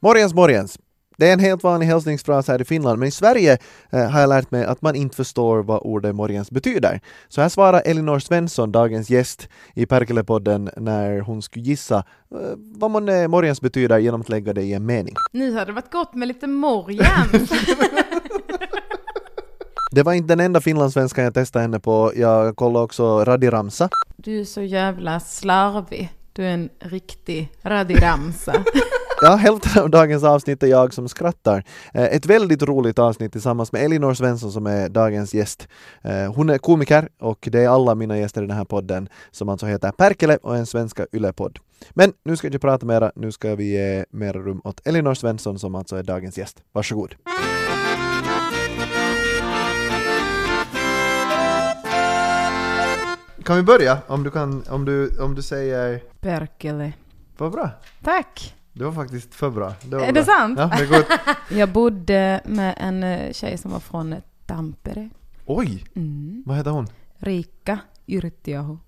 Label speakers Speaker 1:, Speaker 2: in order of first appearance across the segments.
Speaker 1: Morgens, morgens! Det är en helt vanlig hälsningsfras här i Finland, men i Sverige eh, har jag lärt mig att man inte förstår vad ordet morgens betyder. Så här svarar Elinor Svensson, dagens gäst i Perkele-podden, när hon skulle gissa eh, vad månne morgens betyder genom att lägga det i en mening.
Speaker 2: Nu hade det varit gott med lite morjans.
Speaker 1: Det var inte den enda finlandssvenskan jag testade henne på. Jag kollade också Radiramsa.
Speaker 2: Du är så jävla slarvig. Du är en riktig radiramsa.
Speaker 1: Ja, hälften av dagens avsnitt är jag som skrattar. Eh, Ett väldigt roligt avsnitt tillsammans med Elinor Svensson som är dagens gäst. Eh, Hon är komiker och det är alla mina gäster i den här podden som alltså heter Perkele och är en svenska ylepodd. Men nu ska jag inte prata mera, nu ska vi ge mera rum åt Elinor Svensson som alltså är dagens gäst. Varsågod. Kan vi börja? Om du, kan, om du, om du säger...
Speaker 2: Perkele.
Speaker 1: Vad bra!
Speaker 2: Tack!
Speaker 1: Det var faktiskt för bra. Det var
Speaker 2: Är
Speaker 1: bra.
Speaker 2: det sant?
Speaker 1: Ja, det är gott.
Speaker 2: Jag bodde med en eh, tjej som var från Tampere.
Speaker 1: Oj!
Speaker 2: Mm.
Speaker 1: Vad heter hon?
Speaker 2: Rika Yrtiaho.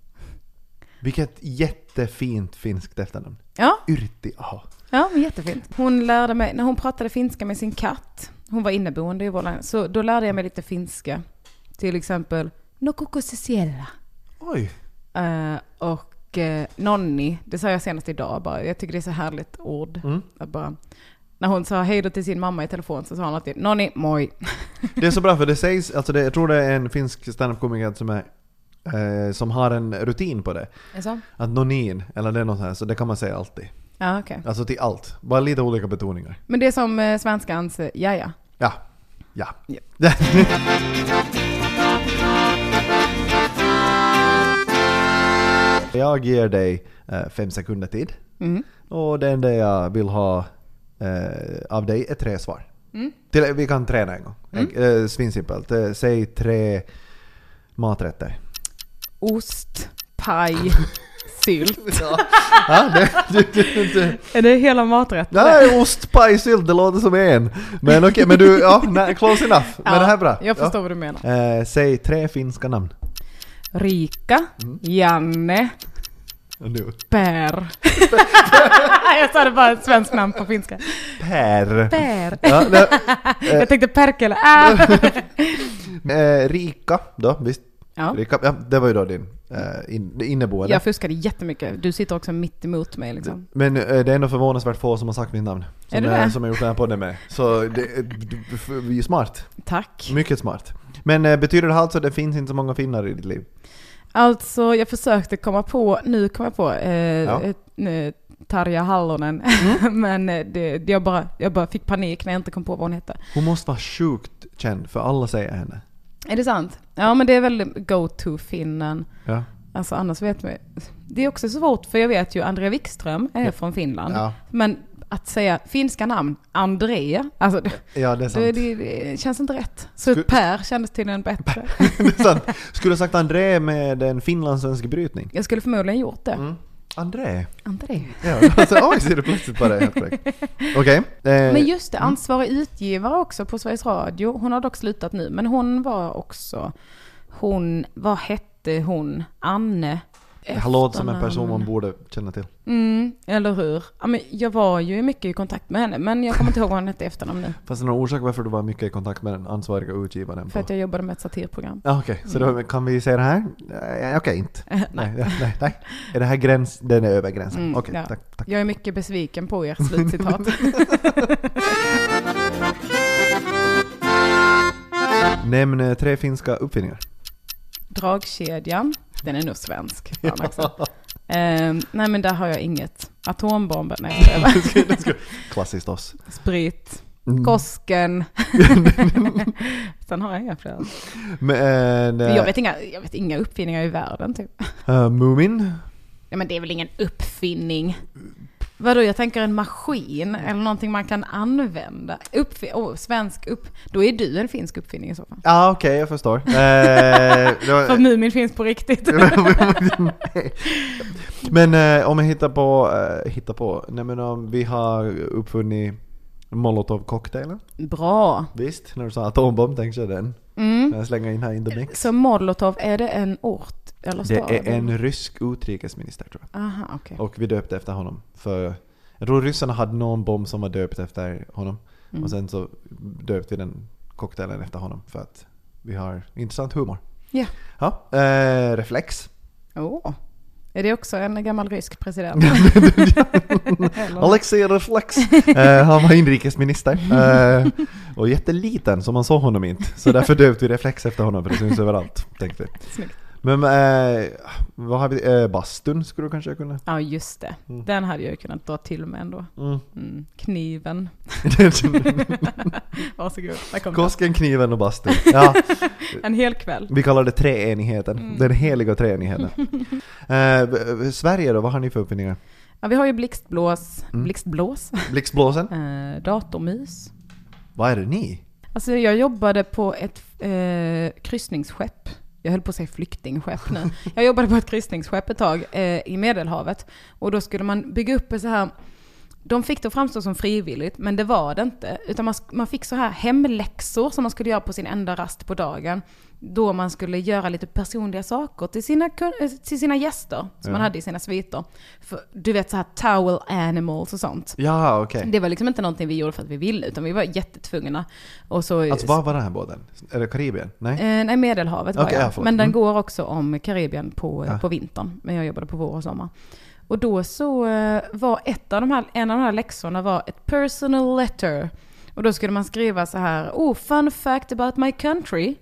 Speaker 1: Vilket jättefint finskt efternamn.
Speaker 2: Ja,
Speaker 1: Yrtiaho.
Speaker 2: ja men jättefint. Hon lärde mig, när hon pratade finska med sin katt, hon var inneboende i vår lägenhet, så då lärde jag mig lite finska. Till exempel, Nokokosisiella.
Speaker 1: Oj!
Speaker 2: Eh, och eh, Nonni, det sa jag senast idag bara, jag tycker det är så härligt ord.
Speaker 1: Mm.
Speaker 2: Att bara, när hon sa hej då till sin mamma i telefon så sa hon alltid Nonni, moi.
Speaker 1: Det är så bra för det sägs, alltså det, jag tror det är en finsk standup-komiker som, är, eh, som har en rutin på det.
Speaker 2: Jaså?
Speaker 1: Att nonin, eller det är något här, så det kan man säga alltid.
Speaker 2: Ja, okej.
Speaker 1: Alltså till allt. Bara lite olika betoningar.
Speaker 2: Men det är som eh, svenskans eh, ja ja.
Speaker 1: Ja. Ja.
Speaker 2: Ja.
Speaker 1: jag ger dig eh, fem sekunder tid.
Speaker 2: Mm.
Speaker 1: Och det enda jag vill ha eh, av dig är tre svar.
Speaker 2: Mm.
Speaker 1: Till, vi kan träna en gång. Eh, svinsimpelt. Eh, säg tre maträtter.
Speaker 2: Ost, paj, sylt.
Speaker 1: Ja, ja det, du, du, du.
Speaker 2: Är det hela maträtten?
Speaker 1: Nej, ost, paj, sylt, det låter som en. Men okej, men du, ja, nej, close enough. Men
Speaker 2: Ja,
Speaker 1: det här är bra.
Speaker 2: Jag
Speaker 1: Ja.
Speaker 2: förstår vad du menar.
Speaker 1: Eh, säg tre finska namn.
Speaker 2: Rika,
Speaker 1: Mm.
Speaker 2: Janne,
Speaker 1: Nu.
Speaker 2: Per. jag sa det bara ett svenskt namn på finska.
Speaker 1: Per.
Speaker 2: Per.
Speaker 1: Ja, nej,
Speaker 2: Jag tänkte Perkele. Ah.
Speaker 1: eh, rika då, visst.
Speaker 2: Ja.
Speaker 1: Rika, ja, det var ju då din eh, in, inneboende.
Speaker 2: Jag fuskade jättemycket. Du sitter också mitt emot mig liksom.
Speaker 1: Men eh, det är ändå förvånansvärt få som har sagt mitt namn. Som,
Speaker 2: Är det
Speaker 1: jag-
Speaker 2: det?
Speaker 1: som jag gjort den här podden med. Så det, du- f- vi är smart.
Speaker 2: Tack.
Speaker 1: Mycket smart. Men eh, betyder det här alltså att det finns inte så många finnar i ditt liv?
Speaker 2: Alltså, jag försökte komma på, nu kom jag på, eh,
Speaker 1: Ja. Mm.
Speaker 2: eh, eh, Tarja Hallonen. Men eh, det, jag, bara, jag bara fick panik när jag inte kom på vad hon hette.
Speaker 1: Hon måste vara sjukt känd, för alla säger henne.
Speaker 2: Är det sant? Ja, men det är väl go-to-finnen.
Speaker 1: Ja.
Speaker 2: Alltså annars vet man Det är också svårt, för jag vet ju Andrea Wikström är från Finland.
Speaker 1: Ja.
Speaker 2: Men att säga finska namn, Andrea, alltså det,
Speaker 1: ja, det är
Speaker 2: det,
Speaker 1: sant.
Speaker 2: det, det känns inte rätt. Så
Speaker 1: Sku-
Speaker 2: Per kändes tydligen bättre.
Speaker 1: det är sant. Skulle du ha sagt André med en finlandssvensk brytning?
Speaker 2: Jag skulle förmodligen gjort det.
Speaker 1: Mm. André?
Speaker 2: Andrea.
Speaker 1: Ja, alltså, oj, ser du plötsligt på det helt korrekt. Okej. Eh,
Speaker 2: Men just det, ansvarig utgivare också på Sveriges Radio. Hon har dock slutat nu, men hon var också... Hon, vad hette hon? Anne?
Speaker 1: det här låter som en
Speaker 2: Efternamn.
Speaker 1: person man borde känna till.
Speaker 2: Mm, eller hur? Ja, men jag var ju mycket i kontakt med henne, men jag kommer inte ihåg vad hon hette i efternamn nu.
Speaker 1: Fanns det någon orsak varför du var mycket i kontakt med den ansvariga utgivaren?
Speaker 2: För
Speaker 1: på-
Speaker 2: att Mm. jag jobbade med ett satirprogram.
Speaker 1: Ja, Okej, så då kan vi säga det här? Eh, Okej, inte. nej. Nej, nej, Är det här gräns? Den är över gränsen.
Speaker 2: Mm,
Speaker 1: Okej,
Speaker 2: ja.
Speaker 1: tack. tack.
Speaker 2: Jag är mycket besviken på er, slutcitat.
Speaker 1: Nämn eh, tre finska uppfinningar.
Speaker 2: Dragkedjan, den är nog svensk. fan också. Ehm, nej men där har jag inget. Atombomben, nej jag skojar.
Speaker 1: Klassiskt oss.
Speaker 2: Sprit,
Speaker 1: Mm.
Speaker 2: Kosken. Sen har jag inga fler.
Speaker 1: Mm, Men... eh,
Speaker 2: Jag vet, inga, jag vet inga uppfinningar i världen typ.
Speaker 1: eh, Mumin?
Speaker 2: Nej men det är väl ingen uppfinning. Vadå, jag tänker en maskin eller någonting man kan använda. Uppf- oh, svensk upp... Då är du en finsk uppfinning i så fall.
Speaker 1: Ja, Ah, okej, jag förstår. Eh, då-
Speaker 2: För Mumin finns på riktigt.
Speaker 1: men eh, om jag hittar på... Eh, hittar på? Nej men om vi har uppfunnit molotovcocktailen.
Speaker 2: Bra. Mm.
Speaker 1: Visst, när du sa atombomb tänkte jag den. Jag slänger in här in the mix.
Speaker 2: Så Molotov, är det en ort eller
Speaker 1: Det
Speaker 2: stad?
Speaker 1: är en rysk utrikesminister tror jag.
Speaker 2: Aha, okej.
Speaker 1: Och vi döpte efter honom för Jag tror ryssarna hade någon bomb som var döpt efter honom.
Speaker 2: Mm.
Speaker 1: Och sen så döpte vi den cocktailen efter honom för att vi har intressant humor.
Speaker 2: Ja.
Speaker 1: Ja, eh, reflex.
Speaker 2: Åh. Är det också en gammal rysk president? Eller?
Speaker 1: Alexej Reflex. Eh, han var inrikesminister. Eh, och jätteliten, så man såg honom inte. Så därför döpte vi Reflex efter honom, för det syns överallt. Tänkte vi.
Speaker 2: Snyggt.
Speaker 1: Men eh, vad har vi? Eh, bastun skulle du kanske kunna?
Speaker 2: Ja, just det.
Speaker 1: Mm.
Speaker 2: Den hade jag ju kunnat dra till med ändå.
Speaker 1: Mm.
Speaker 2: Mm. Kniven. Varsågod, där kom den.
Speaker 1: Kosken, kniven och bastun. Ja,
Speaker 2: En hel kväll.
Speaker 1: vi kallar det treenigheten.
Speaker 2: Mm.
Speaker 1: Den heliga treenigheten. Eh, b- b- Sverige då, vad har ni för uppfinningar?
Speaker 2: Ja, vi har ju blixtblås,
Speaker 1: Mm.
Speaker 2: blixtblås,
Speaker 1: Blixtblåsen?
Speaker 2: eh, datormys.
Speaker 1: Vad är det ni?
Speaker 2: Alltså jag jobbade på ett eh, kryssningsskepp. Jag höll på att säga flyktingskepp nu. Jag jobbade på ett kryssningsskepp ett tag eh, i Medelhavet. Och då skulle man bygga upp en så här... De fick det att framstå som frivilligt, men det var det inte. Utan man, sk- man fick så här hemläxor som man skulle göra på sin enda rast på dagen. Då man skulle göra lite personliga saker till sina, kun- eh, till sina gäster som
Speaker 1: Ja.
Speaker 2: man hade i sina sviter. För, du vet så här towel animals och sånt.
Speaker 1: Ja, okej.
Speaker 2: Det var liksom inte någonting vi gjorde för att vi ville, utan vi var jättetvungna. Och så,
Speaker 1: Alltså var var den här båten? Är det Karibien? Nej?
Speaker 2: Eh, nej, Medelhavet var
Speaker 1: Okej, ja,
Speaker 2: jag.
Speaker 1: förlåt.
Speaker 2: Men den
Speaker 1: Mm.
Speaker 2: går också om Karibien på,
Speaker 1: Ja.
Speaker 2: på vintern. Men jag jobbade på vår och sommar. Och då så eh, var ett av de här, en av de här läxorna var ett personal letter. Och då skulle man skriva så här, oh fun fact about my country.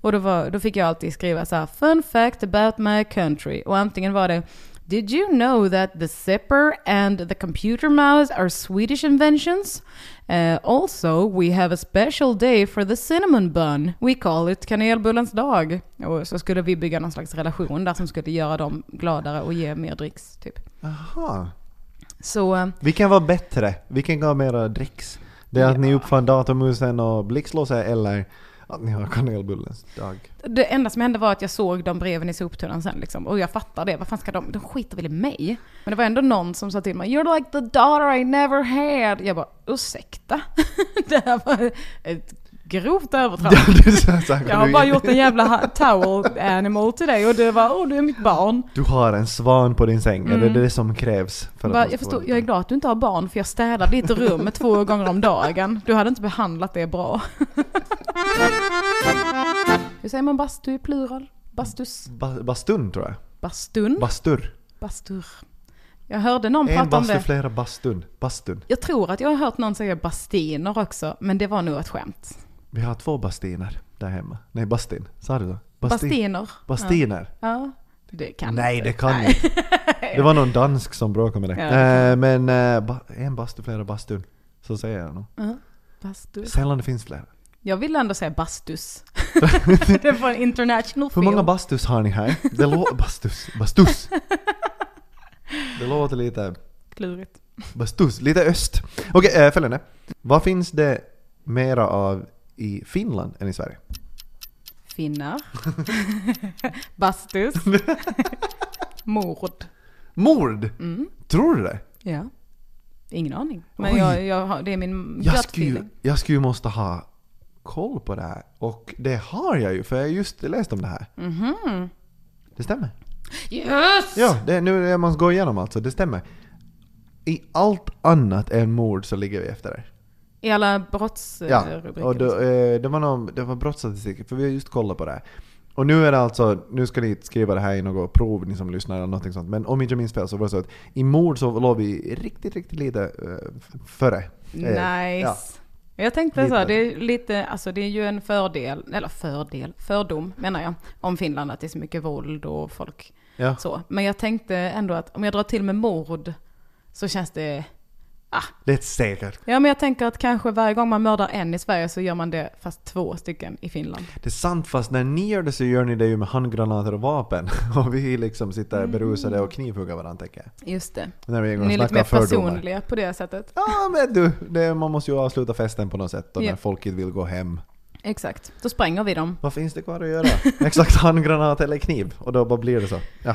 Speaker 2: Och då, var, då fick jag alltid skriva så här, fun fact about my country. Och antingen var det Did you know that the zipper and the computer mouse are Swedish inventions? Uh, also, we have a special day for the cinnamon bun. We call it kanelbullens dag. Och så skulle vi bygga någon slags relation där som skulle göra dem gladare och ge mer dricks, typ.
Speaker 1: Aha.
Speaker 2: Så, eh,
Speaker 1: Vilken var bättre? Vilken gav mera dricks? Det är att ni uppfann datormusen och blixtlåset eller att ni har kanelbullens dag?
Speaker 2: det enda som hände var att jag såg de breven i soptunnan sen liksom. Och jag fattar det, vad fan ska de, de skiter väl i mig? Men det var ändå någon som sa till mig, you're like the daughter I never had. Jag bara, ursäkta? det här var ett grovt övertramp.
Speaker 1: Ja, det är så här saker
Speaker 2: Jag har
Speaker 1: du-
Speaker 2: bara gjort en jävla ha- towel animal till dig och du var åh du är mitt barn.
Speaker 1: Du har en svan på din säng, är det det som krävs? För
Speaker 2: Bara,
Speaker 1: man
Speaker 2: Mm. jag
Speaker 1: ska
Speaker 2: förstår,
Speaker 1: vara-
Speaker 2: jag är glad att du inte har barn för jag städar ditt rum två gånger om dagen. Du hade inte behandlat det bra. Hur säger man bastu i plural? Bastus?
Speaker 1: Ba- Bastun tror jag.
Speaker 2: Mm. Bastun?
Speaker 1: Bastur.
Speaker 2: Bastur? Jag hörde någon
Speaker 1: En
Speaker 2: prata om
Speaker 1: bastu,
Speaker 2: det.
Speaker 1: flera bastun. Bastun.
Speaker 2: Jag tror att jag har hört någon säga bastiner också, men det var nog ett skämt.
Speaker 1: Vi har två bastiner där hemma. Nej, bastin. Sa du så? Bastin.
Speaker 2: Bastiner?
Speaker 1: Bastiner.
Speaker 2: Ja, det kan
Speaker 1: Nej,
Speaker 2: inte.
Speaker 1: det kan jag inte. Det var någon dansk som bråkade med det.
Speaker 2: Ja, det kan
Speaker 1: Eh, men eh, ba- en bastu, flera bastun. Så säger jag nog.
Speaker 2: Ja, Bastu.
Speaker 1: Sällan det finns flera.
Speaker 2: Jag vill ändå säga bastus. det var en international
Speaker 1: Hur
Speaker 2: feel.
Speaker 1: många bastus har ni här? Det lå- bastus, bastus. Det låter lite
Speaker 2: Klurigt.
Speaker 1: bastus, lite öst. Okej, eh, följande. Vad finns det mera av i Finland än i Sverige?
Speaker 2: Finnar. bastus. Mord.
Speaker 1: Mord!
Speaker 2: Mm.
Speaker 1: Tror du det?
Speaker 2: Ja. Ingen aning. Men
Speaker 1: Oj.
Speaker 2: jag, jag, har- det är min
Speaker 1: Jag
Speaker 2: gut
Speaker 1: skulle, ju,
Speaker 2: feeling.
Speaker 1: jag skulle ju måste ha koll på det här. Och det har jag ju, för jag har just läst om det här.
Speaker 2: Mhm.
Speaker 1: Det stämmer.
Speaker 2: Yes!
Speaker 1: Ja, det, är nu är det man går igenom alltså, det stämmer. I allt annat än mord så ligger vi efter det.
Speaker 2: I alla brottsrubriker. Mm,
Speaker 1: och då, eh, det var, någon, det var brottsstatistik, för vi har just kollat på det här. Och nu är det alltså, nu ska ni skriva det här i något prov ni som lyssnar eller någonting sånt. Men om inte jag minns fel så var det så att i mord så låg vi riktigt, riktigt lite eh, f- före. Eh,
Speaker 2: Nice.
Speaker 1: ja.
Speaker 2: Jag tänkte
Speaker 1: Lite
Speaker 2: så, här,
Speaker 1: bättre.
Speaker 2: det är lite, alltså det är ju en fördel, eller fördel, fördom menar jag, om Finland att det är så mycket våld och folk
Speaker 1: Ja.
Speaker 2: så. Men jag tänkte ändå att om jag drar till med mord så känns det,
Speaker 1: Det är säkert.
Speaker 2: ja men jag tänker att kanske varje gång man mördar en i Sverige så gör man det fast två stycken i Finland.
Speaker 1: Det är sant fast när ni gör det så gör ni det ju med handgranater och vapen. Och vi liksom sitter berusade och knivhuggar varandra tänker jag.
Speaker 2: Just det.
Speaker 1: När vi går och
Speaker 2: Mm. Ni är lite
Speaker 1: snackar
Speaker 2: mer
Speaker 1: fördomar.
Speaker 2: personliga på det sättet.
Speaker 1: Ja men du, det, man måste ju avsluta festen på något sätt och när
Speaker 2: Ja.
Speaker 1: folk inte vill gå hem.
Speaker 2: Exakt, då spränger vi dem.
Speaker 1: Vad finns det kvar att göra? Exakt handgranat eller kniv? Och då bara blir det så. Ja.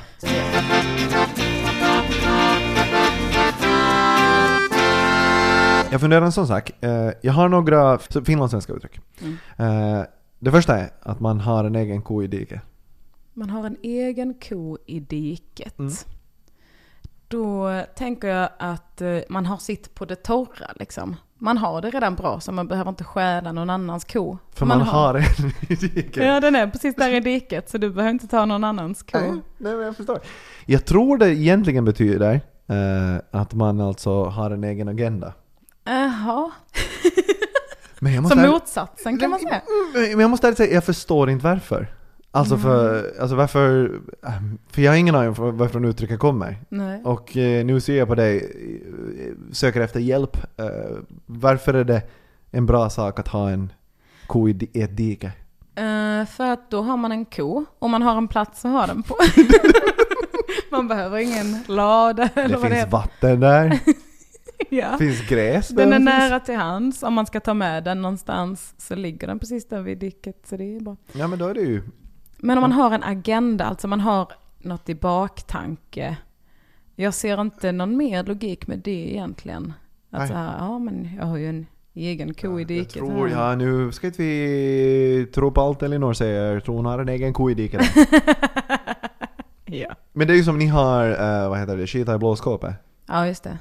Speaker 1: Jag funderar en sån sak. Eh, Jag har några f- finlandssvenska uttryck.
Speaker 2: Mm.
Speaker 1: Eh, Det första är att man har en egen ko i diket.
Speaker 2: Man har en egen ko i diket.
Speaker 1: Mm.
Speaker 2: Då tänker jag att eh, man har sitt på det torra liksom. Man har det redan bra så man behöver inte stjäla någon annans ko.
Speaker 1: För man, har en i diket.
Speaker 2: Ja den är precis där i diket så du behöver inte ta någon annans ko.
Speaker 1: Nej, nej, men jag förstår. Jag tror det egentligen betyder eh, att man alltså har en egen agenda.
Speaker 2: Jaha,
Speaker 1: Men jag måste
Speaker 2: som
Speaker 1: ärligt-
Speaker 2: motsatsen kan man säga.
Speaker 1: mm, Men jag måste ärligt säga, jag förstår inte varför. Alltså, för,
Speaker 2: Mm.
Speaker 1: alltså varför... eh, För jag har ingen aning om varför de uttrycken kommer.
Speaker 2: Nej.
Speaker 1: Och eh, nu ser jag på dig, eh, söker efter hjälp. Eh, varför är det en bra sak att ha en ko i di- i ett dike?
Speaker 2: Eh, för att då har man en ko och man har en plats att ha den på. man behöver ingen lada eller
Speaker 1: Det
Speaker 2: vad det
Speaker 1: finns
Speaker 2: heter.
Speaker 1: vatten där, det
Speaker 2: Ja.
Speaker 1: finns gräs där.
Speaker 2: Den är
Speaker 1: det finns-
Speaker 2: nära till hands. Om man ska ta med den någonstans så ligger den precis där vid diket så det är bra.
Speaker 1: Ja men då är det ju...
Speaker 2: Men om man har en agenda, alltså man har något i baktanke. Jag ser inte någon mer logik med det egentligen.
Speaker 1: Nej.
Speaker 2: Att så här, ja men jag har ju en egen ko i
Speaker 1: Jag
Speaker 2: diket.
Speaker 1: tror,
Speaker 2: här.
Speaker 1: ja nu ska inte vi tro på allt Elinor säger. Jag tror hon har en egen ko i diket.
Speaker 2: ja.
Speaker 1: men det är ju som ni har, eh, vad heter det, skita i blåskåpet.
Speaker 2: ja, just det.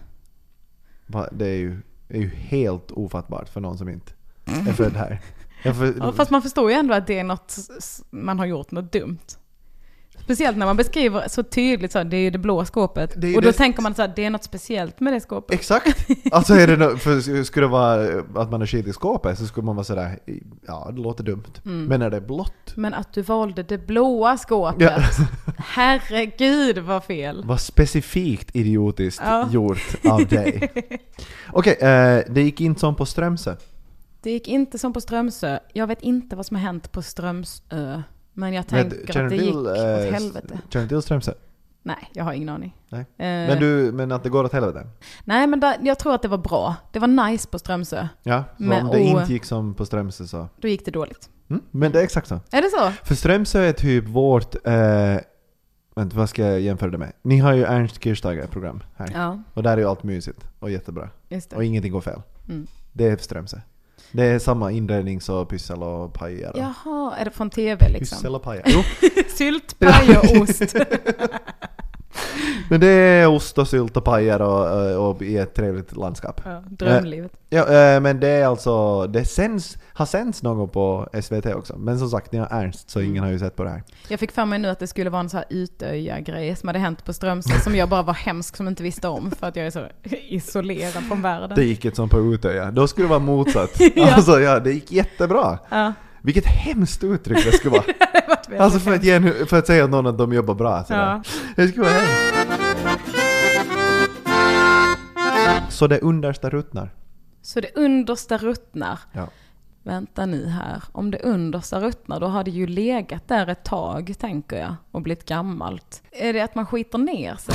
Speaker 1: Va, Det är ju, är ju helt ofattbart för någon som inte är född här. Jag för,
Speaker 2: Ja, fast man förstår ju ändå att det är något, s- s- man har gjort något dumt. Speciellt när man beskriver så tydligt så här, det är ju det blå skåpet.
Speaker 1: Det är ju
Speaker 2: och då
Speaker 1: det-
Speaker 2: tänker man så här, det är något speciellt med det skåpet.
Speaker 1: Exakt! Alltså är det nå- för skulle det vara eh, att man är skitig i skåpet så skulle man vara sådär, ja det låter dumt.
Speaker 2: Mm.
Speaker 1: Men är det blått?
Speaker 2: Men att du valde det blåa skåpet.
Speaker 1: Ja.
Speaker 2: Herregud vad fel.
Speaker 1: Vad specifikt idiotiskt
Speaker 2: Ja.
Speaker 1: gjort av dig. Okej, eh, det gick inte som på Strömsö.
Speaker 2: Det gick inte som på Strömsö. Jag vet inte vad som har hänt på Strömsö. Men jag
Speaker 1: Men
Speaker 2: tänker
Speaker 1: känner
Speaker 2: att det
Speaker 1: du
Speaker 2: gick
Speaker 1: till, eh,
Speaker 2: åt helvete.
Speaker 1: Känner du till Strömsö?
Speaker 2: Eh. Nej, jag har ingen aning.
Speaker 1: Nej.
Speaker 2: Eh,
Speaker 1: Men, du, men att det går åt helvete?
Speaker 2: Nej, men där, jag tror att det var bra. Det var nice på Strömsö.
Speaker 1: Ja, så
Speaker 2: Men-
Speaker 1: om det
Speaker 2: och-
Speaker 1: inte gick som på Strömsö så...
Speaker 2: Då gick det dåligt.
Speaker 1: Mm, men det är exakt så.
Speaker 2: Är det så?
Speaker 1: För Strömsö är typ vårt... Eh, vänta, vad ska jag jämföra det med? Ni har ju Ernst Kirchsteiger-program här.
Speaker 2: Ja,
Speaker 1: Och där är ju allt mysigt och jättebra.
Speaker 2: just det.
Speaker 1: Och ingenting går fel.
Speaker 2: Mm.
Speaker 1: Det är Strömsö. Det är samma inredning så pyssel och pajer. och-
Speaker 2: Jaha, är det från tv liksom?
Speaker 1: Pyssel och pajer. Jo,
Speaker 2: Sylt, paj och ost.
Speaker 1: men det är ost och sylt och pajer och, och i ett trevligt landskap.
Speaker 2: Ja, drömlivet.
Speaker 1: Ja, eh, men det är alltså, det sänds, har sänds någon gång på SVT också. Men som sagt, ni har Ernst så
Speaker 2: Mm.
Speaker 1: ingen har ju sett på det här.
Speaker 2: Jag fick för mig nu att det skulle vara en sån här Utöja-grej som hade hänt på Strömsö som jag bara var hemsk som inte visste om för att jag är så isolerad från
Speaker 1: Det
Speaker 2: världen.
Speaker 1: gick inte som på Utöja. Då skulle det vara motsatt.
Speaker 2: Ja.
Speaker 1: Alltså ja, det gick jättebra.
Speaker 2: Ja,
Speaker 1: Vilket hemskt uttryck det skulle vara.
Speaker 2: det vart väldigt
Speaker 1: alltså för att, ge, en- för att säga åt någon att de jobbar bra. Sådär.
Speaker 2: Ja.
Speaker 1: Det skulle vara hemskt. Så det understa ruttnar.
Speaker 2: Så det understa ruttnar.
Speaker 1: Ja.
Speaker 2: Vänta nu här, om det understa ruttnar då har det ju legat där ett tag tänker jag och blivit gammalt. Är det att man skiter ner sig?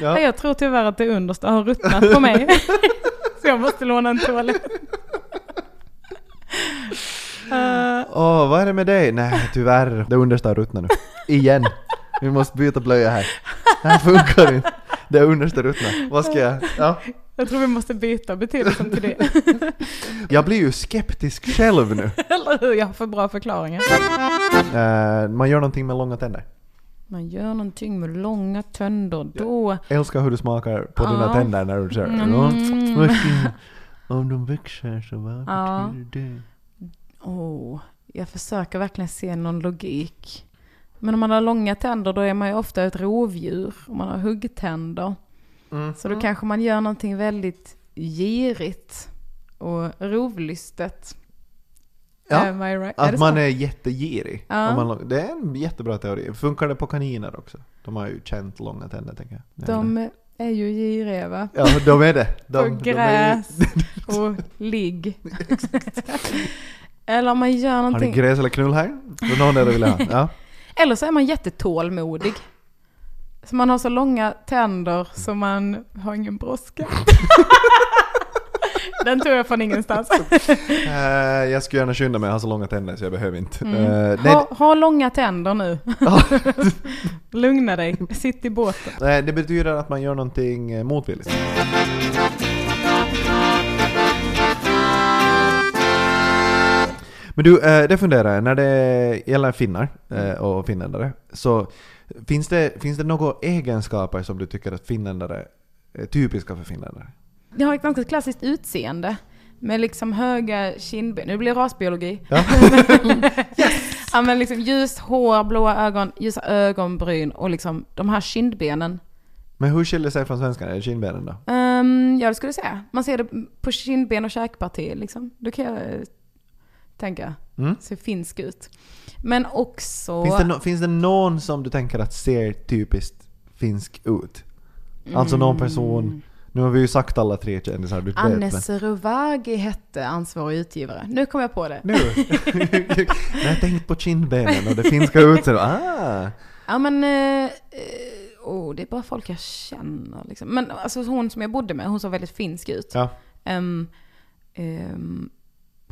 Speaker 1: Ja.
Speaker 2: Jag tror tyvärr att det understa har ruttnat på mig. Så jag måste låna en toalett. Eh,
Speaker 1: Åh, vad är det med dig? Nej, tyvärr. Det understa ruttnar nu. Igen. Vi måste byta blöja här. Det här funkar inte. Det understa ruttnar. Vad ska jag? Ja.
Speaker 2: jag tror vi måste byta betydelsen till det.
Speaker 1: Jag blir ju skeptisk själv nu.
Speaker 2: Eller hur? Jag har för bra förklaringar.
Speaker 1: Eh, man gör någonting med långa tänder.
Speaker 2: Man gör någonting med långa tänder då.
Speaker 1: Älskar hur du smakar på dina
Speaker 2: Ja.
Speaker 1: tänder när du kör.
Speaker 2: Mm.
Speaker 1: Ja. Vad fint. Om de växer så vad
Speaker 2: Ja.
Speaker 1: betyder det?
Speaker 2: Oh, jag försöker verkligen se någon logik. Men om man har långa tänder då är man ju ofta ett rovdjur. Om man har huggtänder.
Speaker 1: Mm.
Speaker 2: Så då kanske man gör någonting väldigt girigt och rovlystet.
Speaker 1: Ja,
Speaker 2: Am I right?
Speaker 1: Att
Speaker 2: Eh, det
Speaker 1: man
Speaker 2: så?
Speaker 1: är jättegirig.
Speaker 2: Ja.
Speaker 1: Om man, det är en jättebra teori. Funkar det på kaniner också? De har ju känt långa tänder tänker jag.
Speaker 2: De är ju giriga va?
Speaker 1: Ja, de är det. De,
Speaker 2: och
Speaker 1: de är ju-
Speaker 2: gräs och ligg. Eller om man gör
Speaker 1: Har ni
Speaker 2: någonting.
Speaker 1: gräs eller knull här? För någon är det vill jag ha. Ja.
Speaker 2: Eller så är man jättetålmodig. Så man har så långa tänder så man har ingen brådska. Den tog jag från ingenstans.
Speaker 1: Eh, jag skulle gärna skynda mig, jag har så långa tänder så jag behöver inte.
Speaker 2: Mm.
Speaker 1: Eh, nej,
Speaker 2: Ha, ha långa tänder nu.
Speaker 1: Ja.
Speaker 2: Lugna dig, sitt i båten.
Speaker 1: det- nej, det betyder att man gör någonting eh, motvilligt. Men du, eh, det funderar jag. När det gäller finnar eh, och finländare, så finns det, finns det några egenskaper som du tycker att finländare är typiska för finländare?
Speaker 2: Det har ett ganska klassiskt utseende. Med liksom höga kindben. Nu blir det rasbiologi.
Speaker 1: Ja.
Speaker 2: Ja, men liksom ljust hår, blåa ögon, ljusa ögonbryn och liksom de här kindbenen.
Speaker 1: Men hur skiljer sig från svenskarna? Är det kindbenen då?
Speaker 2: Um, ja, det skulle jag säga. Man ser det på kindben och käkparti liksom. Då kan jag eh, tänka.
Speaker 1: Mm.
Speaker 2: Ser finsk ut. Men också...
Speaker 1: Finns, det no- finns det någon som du tänker att ser typiskt finsk ut? Alltså någon person, nu har vi ju sagt alla tre kändisar, du vet
Speaker 2: Anne
Speaker 1: men-
Speaker 2: Seruvagi hette ansvarig utgivare. Nu kom jag på det.
Speaker 1: Nu! När jag tänkt på kindbenen och det finska utseendet, ah!
Speaker 2: Ja men, eh, eh, oh, det är bara folk jag känner liksom. Men alltså hon som jag bodde med, hon såg väldigt finsk ut.
Speaker 1: Ja.
Speaker 2: Ehm, ehm,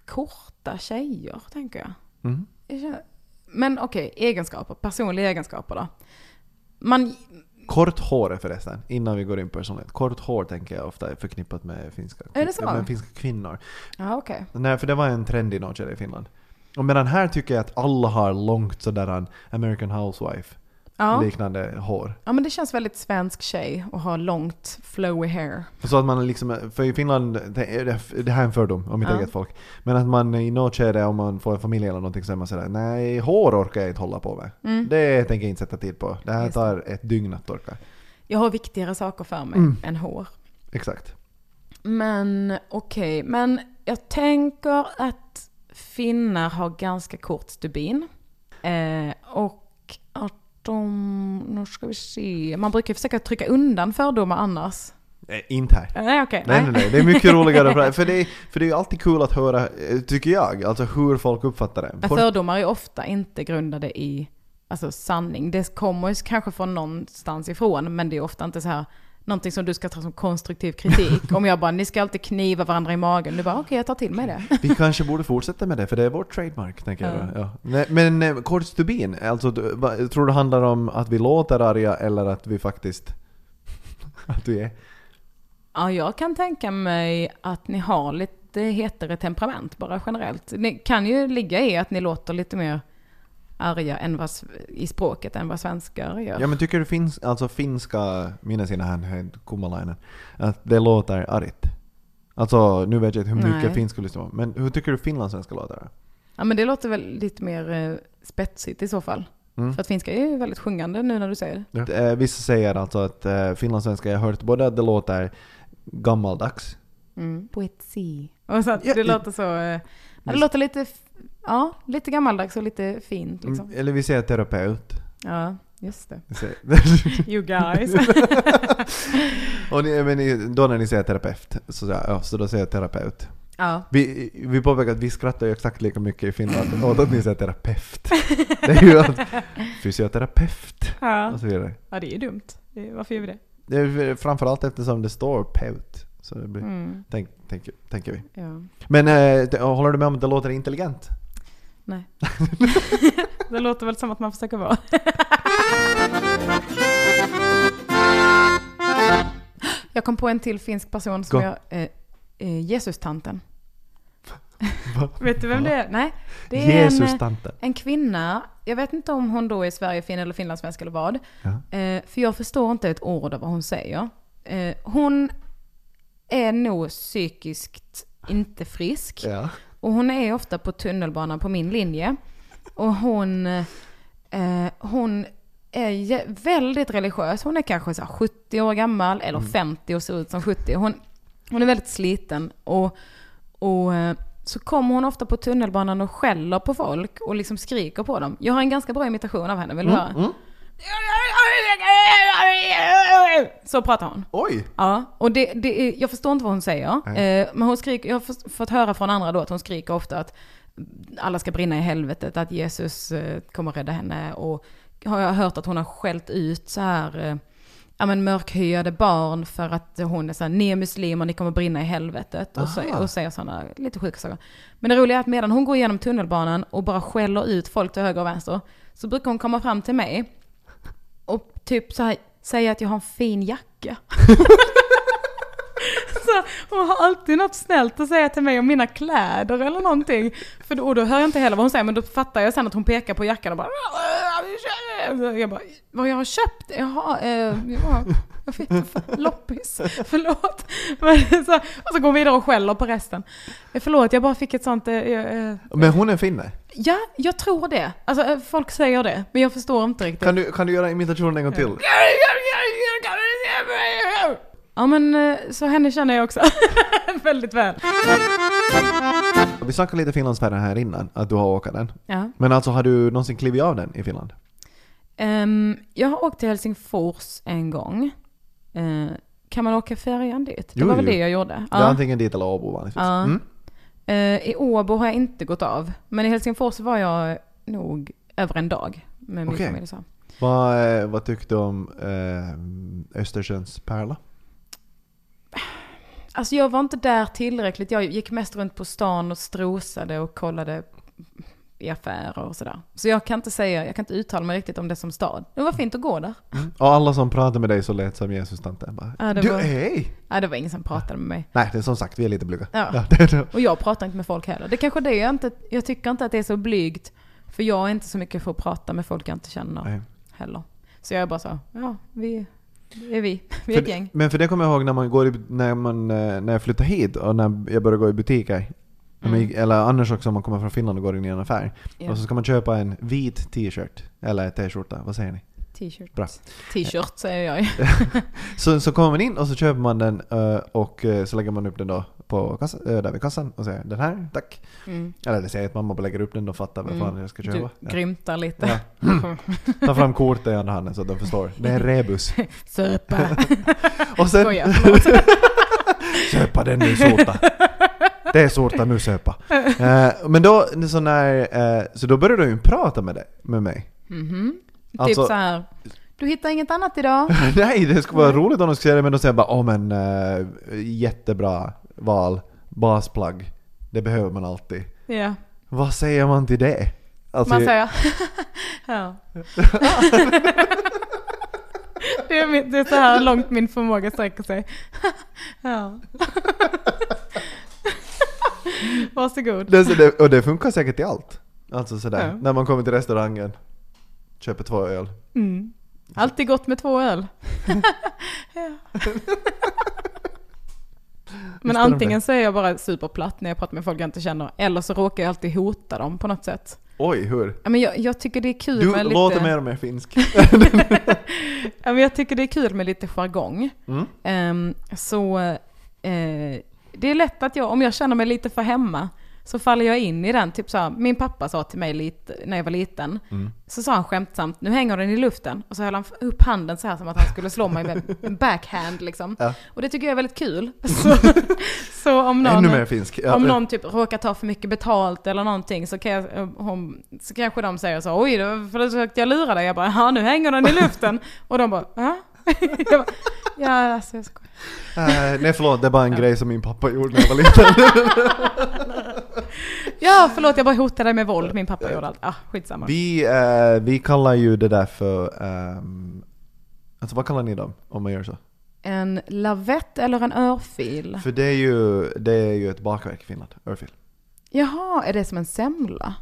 Speaker 2: korta tjejer, tänker jag.
Speaker 1: Mm.
Speaker 2: jag känner, men okej, egenskaper. Personliga egenskaper då. Man,
Speaker 1: Kort hår är förresten, innan vi går in på personlighet. Kort hår tänker jag ofta är förknippat med finska,
Speaker 2: Är det så?
Speaker 1: ja, med finska kvinnor.
Speaker 2: ja okej.
Speaker 1: Nej, för det var en trend i något skede i Finland. Och medan här tycker jag att alla har långt sådär en American Housewife-liknande
Speaker 2: Ja.
Speaker 1: hår.
Speaker 2: ja men det känns väldigt svensk tjej att ha långt flowy hair.
Speaker 1: Så att man liksom, för i Finland, det är- det här är en fördom om mitt
Speaker 2: Ja.
Speaker 1: eget folk. Men att man i något skede om man får en familj eller någonting så är man sådär nej hår orkar jag inte hålla på med. Det tänker jag inte sätta tid på. Det här
Speaker 2: Mm. Just det.
Speaker 1: tar ett dygn att torka.
Speaker 2: Jag har viktigare saker för mig
Speaker 1: Mm.
Speaker 2: än hår.
Speaker 1: Exakt.
Speaker 2: Men okej, men jag tänker att finnar har ganska kort stubin. Eh, och att de, nu ska vi se, man brukar ju försöka trycka undan fördomar annars.
Speaker 1: Eh, inte här.
Speaker 2: Eh, Nej okej,
Speaker 1: Nej, nej, nej. Det är mycket roligare. att prata- För det, är- för det är ju alltid kul att höra, eh, tycker jag, alltså hur folk uppfattar det.
Speaker 2: Men
Speaker 1: Folk,
Speaker 2: fördomar är ofta inte grundade i alltså, sanning. Det kommer ju kanske från någonstans ifrån, men det är ofta inte så här någonting som du ska ta som konstruktiv kritik. Om jag bara, ni ska alltid kniva varandra i magen. Du bara, okej jag tar till mig det.
Speaker 1: vi kanske borde fortsätta med det, för det är vår trademark, tänker jag.
Speaker 2: Ja.
Speaker 1: då. Ja. Nej, Men eh, kort stubin, alltså, du- vad- tror du det handlar om att vi låter arga eller att vi faktiskt... att vi är...
Speaker 2: Ja, jag kan tänka mig att ni har lite hetare temperament bara generellt. Det kan ju ligga i att ni låter lite mer arga än vad, s- i språket än vad svenskar gör.
Speaker 1: Ja men tycker du finns, alltså finska, minns innan han hette Kummalainen, att det låter argt? Alltså nu vet jag inte hur mycket
Speaker 2: Nej.
Speaker 1: finska du lyssnar på, men hur tycker du finlandssvenska låter?
Speaker 2: Ja, men det låter väl lite mer eh, spetsigt i så fall.
Speaker 1: Mm.
Speaker 2: För att finska är ju väldigt sjungande nu när du säger det.
Speaker 1: Eh, Vissa säger alltså att eh, finlandssvenska, jag har hört både att det låter gammaldags,
Speaker 2: Mm. Poetsi. Och så att
Speaker 1: Ja,
Speaker 2: det
Speaker 1: ja.
Speaker 2: låter så... eh, ja, Det låter lite, f- ja, lite gammaldags och lite fint liksom.
Speaker 1: eller vi säger terapeut.
Speaker 2: Ja, just det.
Speaker 1: Vi säger-
Speaker 2: You guys.
Speaker 1: Och ni, men ni, då när ni säger terapeut, så, säger jag, ja, så då säger jag terapeut.
Speaker 2: ja.
Speaker 1: Vi, vi påpekar att vi skrattar ju exakt lika mycket i Finland åt att ni säger terapeut. Det är ju att fysioterapeut
Speaker 2: Ja.
Speaker 1: och så vidare.
Speaker 2: ja, det är ju dumt. Det- Varför gör vi det?
Speaker 1: Det är framförallt eftersom det står PEUT. Så det blir,
Speaker 2: Mm.
Speaker 1: tänk, tänk, tänker vi.
Speaker 2: Ja.
Speaker 1: Men eh, det- håller du med om att det låter intelligent?
Speaker 2: Nej. det låter väl som att man försöker vara. jag kom på en till finsk person som
Speaker 1: Gå.
Speaker 2: jag... Eh, eh, Jesus-tanten.
Speaker 1: Va?
Speaker 2: Vet du vem det är? Nej. Det är en, eh,
Speaker 1: Jesus-tanten.
Speaker 2: en kvinna. Jag vet inte om hon då är Sverigefin eller finlandssvensk eller vad.
Speaker 1: Ja.
Speaker 2: Eh, för jag förstår inte ett ord av vad hon säger. Eh, hon är nog psykiskt inte frisk.
Speaker 1: Ja.
Speaker 2: Och hon är ofta på tunnelbanan på min linje. Och hon, eh, hon är jä- väldigt religiös. Hon är kanske så här 70 år gammal eller 50 och ser ut som 70. Hon, hon är väldigt sliten. Och, och eh, så kommer hon ofta på tunnelbanan och skäller på folk och liksom skriker på dem. Jag har en ganska bra imitation av henne, vill du höra? Så pratar hon.
Speaker 1: Oj!
Speaker 2: Ja, och det, det är, jag förstår inte vad hon säger.
Speaker 1: Nej.
Speaker 2: Eh, men hon skriker, jag har fått- fått höra från andra då att hon skriker ofta att alla ska brinna i helvetet, att Jesus eh, kommer rädda henne. Och har jag hört att hon har skällt ut så här, eh, ja men mörkhyade barn för att hon är så här, ni är muslimer, ni kommer brinna i helvetet. Och, så,
Speaker 1: Aha.
Speaker 2: och säger sådana lite sjuka saker. Men det roliga är att medan hon går igenom tunnelbanan och bara skäller ut folk till höger och vänster, så brukar hon komma fram till mig och typ så här, säga att jag har en fin jacka. så här, hon har alltid något snällt att säga till mig om mina kläder eller någonting. För då, och då hör jag inte heller vad hon säger men då fattar jag sen att hon pekar på jackan och bara "Äh, Jag bara, vad jag har köpt? Jaha, eh, ja, jag fick det för loppis. Förlåt. Men, så, och så går hon vidare och skäller på resten. Eh, Förlåt, jag bara fick ett sånt... eh, eh,
Speaker 1: Men hon är finne.
Speaker 2: Ja, jag tror det. Alltså eh, folk säger det, men jag förstår inte riktigt.
Speaker 1: Kan du, kan du göra imitationen en gång till?
Speaker 2: Ja men eh, så henne känner jag också väldigt väl.
Speaker 1: Vi snackade lite Finlandsfärjan här innan, att du har åkat den.
Speaker 2: Ja.
Speaker 1: Men alltså har du någonsin klivit av den i Finland?
Speaker 2: Ehm, jag har åkt till Helsingfors en gång. Eh, kan man åka färjan dit? Det
Speaker 1: Jo,
Speaker 2: var väl
Speaker 1: jo.
Speaker 2: det jag gjorde.
Speaker 1: Det är
Speaker 2: Ja.
Speaker 1: antingen dit eller Åbo vanligtvis.
Speaker 2: Ja.
Speaker 1: Mm.
Speaker 2: Eh, I Åbo har jag inte gått av. Men i Helsingfors var jag nog över en dag med min
Speaker 1: Okej.
Speaker 2: familj. Så.
Speaker 1: Vad, eh, vad tyckte du om eh, Östersjöns pärla?
Speaker 2: Alltså jag var inte där tillräckligt. Jag gick mest runt på stan och strosade och kollade i affärer och sådär. Så jag kan inte säga, jag kan inte uttala mig riktigt om det som stad. Det var fint att gå där.
Speaker 1: Och alla som pratar med dig så lät som Jesus-tanten. Bara,
Speaker 2: Ja, det
Speaker 1: du,
Speaker 2: var-
Speaker 1: hej!
Speaker 2: Nej, det var ingen som pratade med mig.
Speaker 1: Nej, det är som sagt, vi är lite blyga.
Speaker 2: Ja.
Speaker 1: det är det.
Speaker 2: Och jag pratar inte med folk heller. Det kanske är det jag inte, jag tycker inte att det är så blygt. För jag är inte så mycket för att prata med folk jag inte känner
Speaker 1: Nej.
Speaker 2: heller. Så jag är bara så, ja vi, det är vi, vi är
Speaker 1: För,
Speaker 2: ett gäng.
Speaker 1: det- men för det kommer jag ihåg när man går i, när, man, eh, när jag flyttade hit och när jag började gå i butiker. När man gick- Eller annars också om man kommer från Finland och går in i en affär.
Speaker 2: Mm. Ja.
Speaker 1: Och så ska man köpa en vit t-shirt. Eller t-skjorta, vad säger ni?
Speaker 2: T-shirt.
Speaker 1: Bra.
Speaker 2: T-shirt säger jag ju.
Speaker 1: Så, så kommer man in och så köper man den eh, och eh, så lägger man upp den då på kassa, eh, där vid kassan och säger den här, tack.
Speaker 2: Mm.
Speaker 1: Eller det säger jag att mamma bara lägger upp den, de fattar vad fan jag ska
Speaker 2: Du
Speaker 1: köpa. Ja.
Speaker 2: grymtar lite.
Speaker 1: Ja. Ta fram kortet i andra handen så att de förstår. Det är en rebus.
Speaker 2: Söpa.
Speaker 1: Och sen
Speaker 2: Skojar, förlåt.
Speaker 1: Söpa den nu sorta. Det är sorta nu söpa. Eh, men då, så, när, eh, så då började du ju prata med, det, med mig.
Speaker 2: Mhm.
Speaker 1: Alltså-
Speaker 2: Typ så här. Du hittar inget annat idag?
Speaker 1: Nej, det skulle vara roligt om de skulle säga det, men de säger bara åh men eh, jättebra val, basplagg, det behöver man alltid.
Speaker 2: Ja.
Speaker 1: Vad säger man till det? Alltså,
Speaker 2: Man säger ja. det, är mitt, det är så här långt min förmåga sträcker sig. ja. Varsågod.
Speaker 1: det, så det, och det funkar säkert i allt. Alltså sådär,
Speaker 2: Ja.
Speaker 1: när man kommer till restaurangen, köper två öl.
Speaker 2: Mm. Alltid gott med två öl. Ja. Men
Speaker 1: det.
Speaker 2: antingen så är jag bara superplatt när jag pratar med folk jag inte känner, eller så råkar jag alltid hota dem på något sätt.
Speaker 1: Oj, hur?
Speaker 2: Ja, Men jag, jag tycker det är kul
Speaker 1: Du
Speaker 2: med lite...
Speaker 1: låter mer och mer finsk.
Speaker 2: Ja, men jag tycker det är kul med lite jargong.
Speaker 1: Mm.
Speaker 2: Ehm, så eh, det är lätt att jag, om jag känner mig lite för hemma, så faller jag in i den. Typ så här, min pappa sa till mig lite, när jag var liten, så sa han skämtsamt, nu hänger den i luften. Och så höll han upp handen så här som att han skulle slå mig med en backhand liksom.
Speaker 1: Ja.
Speaker 2: Och det tycker jag är väldigt kul. Så, så om någon...
Speaker 1: Ännu mer finsk. Ja,
Speaker 2: Om någon typ råkar ta för mycket betalt eller någonting så, kan jag, eh, hon, så kanske de säger så oj, då försökte jag lura dig. Jag bara, ja nu hänger den i luften. Och de bara, ja? Jag bara, ja alltså jag skojar.
Speaker 1: Eh, nej förlåt, det är bara en grej som min pappa gjorde när jag var liten.
Speaker 2: Ja förlåt jag bara hotade dig med våld, min pappa gjorde allt. Ah, skitsamma.
Speaker 1: Vi, eh, vi kallar ju det där för... ehm, alltså vad kallar ni dem om man gör så?
Speaker 2: En lavett eller en örfil?
Speaker 1: För det är ju, det är ju ett bakverk i Finland, örfil.
Speaker 2: Jaha, är det som en semla?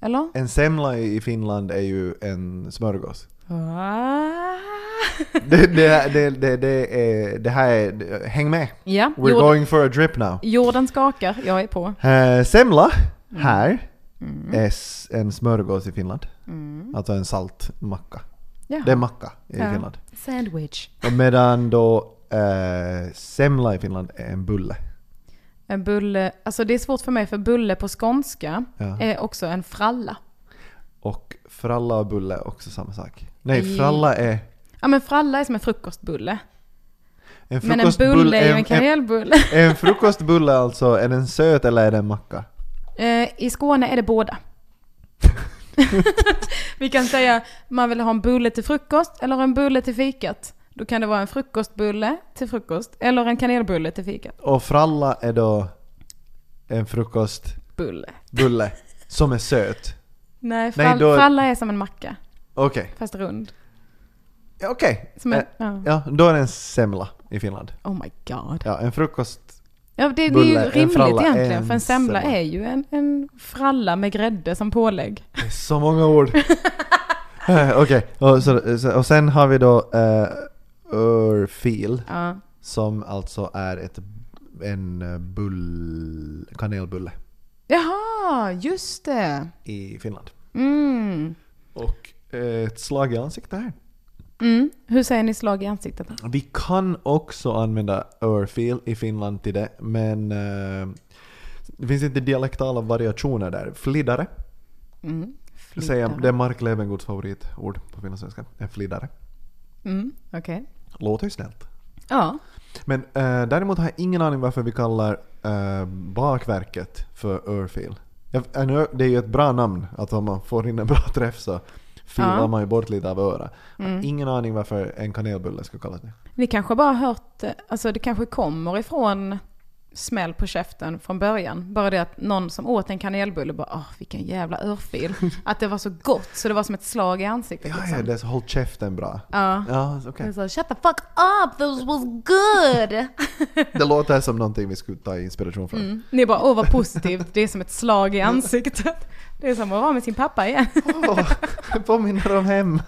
Speaker 2: Eller?
Speaker 1: En semla i i Finland är ju en smörgås.
Speaker 2: Ah.
Speaker 1: Det, det, det, det, det, är, det här är... Häng med!
Speaker 2: ja,
Speaker 1: We're
Speaker 2: jord,
Speaker 1: going for a drip now.
Speaker 2: jorden skakar, jag är på.
Speaker 1: Eh, semla
Speaker 2: Mm.
Speaker 1: här är s- en smörgås i Finland. Alltså en saltmacka.
Speaker 2: Jaha.
Speaker 1: Det är macka i
Speaker 2: Mm. Ja.
Speaker 1: Finland.
Speaker 2: Sandwich.
Speaker 1: Och Medan då eh, semla i Finland är en bulle.
Speaker 2: En bulle, alltså det är svårt för mig för bulle på skånska
Speaker 1: Ja.
Speaker 2: är också en fralla.
Speaker 1: Och fralla och bulle är också samma sak. Nej,
Speaker 2: I-
Speaker 1: fralla är...
Speaker 2: Ja men fralla är som en frukostbulle.
Speaker 1: En
Speaker 2: Men en bulle är ju en
Speaker 1: en,
Speaker 2: kanelbulle.
Speaker 1: är en frukostbulle alltså, är den söt eller är den macka?
Speaker 2: Eh, I Skåne är det båda. Vi kan säga man vill ha en bulle till frukost eller en bulle till fikat. Då kan det vara en frukostbulle till frukost eller en kanelbulle till fikat.
Speaker 1: Och fralla är då en frukostbulle
Speaker 2: Bulle.
Speaker 1: som är söt.
Speaker 2: Nej, frall,
Speaker 1: då-
Speaker 2: fralla är som en macka,
Speaker 1: Okej.
Speaker 2: fast rund.
Speaker 1: Ja, Okej.
Speaker 2: Som en,
Speaker 1: Eh,
Speaker 2: ja.
Speaker 1: Ja, då är det en semla. i Finland.
Speaker 2: Oh my god.
Speaker 1: Ja, en frukost.
Speaker 2: Ja, det, det är ju
Speaker 1: Bulle, en
Speaker 2: rimligt
Speaker 1: fralla,
Speaker 2: egentligen,
Speaker 1: en
Speaker 2: för en semla
Speaker 1: semla.
Speaker 2: är ju en, en fralla med grädde som pålägg.
Speaker 1: Det är så många ord. Eh, Okej, och, så- så- och sen har vi då eh, örfil
Speaker 2: Ja.
Speaker 1: som alltså är ett, en eh, bull, kanelbulle
Speaker 2: Jaha, just det.
Speaker 1: i Finland.
Speaker 2: Mm.
Speaker 1: Och eh, ett slag i ansiktet här.
Speaker 2: Mm. Hur säger ni slag i ansiktet?
Speaker 1: Vi kan också använda örfil i Finland till det, men eh, det finns inte dialektala variationer där. Flidare,
Speaker 2: Mm.
Speaker 1: säger,
Speaker 2: Flytande.
Speaker 1: det är Mark Levengoods favoritord på finlandssvenska. En flidare.
Speaker 2: Mm. Okej.
Speaker 1: Låter ju snällt.
Speaker 2: Ja.
Speaker 1: Men eh, däremot har jag ingen aning varför vi kallar eh, bakverket för örfil. Jag- en ö- Det är ju ett bra namn, att om man får in en bra träff så filar
Speaker 2: Ja.
Speaker 1: man ju bort lite av öra. Jag har Ingen aning varför en kanelbulle skulle kallas det.
Speaker 2: Ni kanske bara hört, eh, alltså det kanske kommer ifrån smäll på käften från början. Bara det att någon som åt en kanelbulle bara åh vilken jävla örfil. Att det var så gott så det var som ett slag i ansiktet.
Speaker 1: Ja,
Speaker 2: liksom.
Speaker 1: ja, det är Mm. så håll käften bra.
Speaker 2: Ja.
Speaker 1: Ja, okej.
Speaker 2: Det är så, Shut the fuck up, those was good! Mm.
Speaker 1: Det låter som någonting vi skulle ta inspiration från.
Speaker 2: Ni bara åh vad positivt, det är som ett slag i ansiktet. Det är som att vara med sin pappa igen.
Speaker 1: Åh, det påminner om hem.